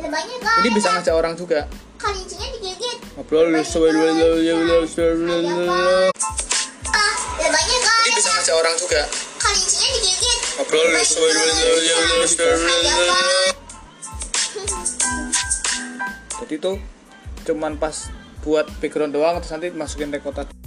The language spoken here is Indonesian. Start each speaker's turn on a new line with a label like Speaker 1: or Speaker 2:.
Speaker 1: lembanya gak
Speaker 2: Jadi
Speaker 1: ada
Speaker 2: bisa
Speaker 1: Kak.
Speaker 2: ngajak orang juga.
Speaker 1: kalincinya digigit
Speaker 2: Ngobrol
Speaker 1: Lembanya nggak ada, Kak. Ah, lembanya gak
Speaker 2: Jadi
Speaker 1: ada
Speaker 2: bisa
Speaker 1: Kak.
Speaker 2: ngajak orang juga.
Speaker 1: kalincinya digigit
Speaker 2: Ngobrol
Speaker 1: Ada, Kak.
Speaker 2: Jadi tuh cuman pas buat background doang terus nanti masukin record tadi.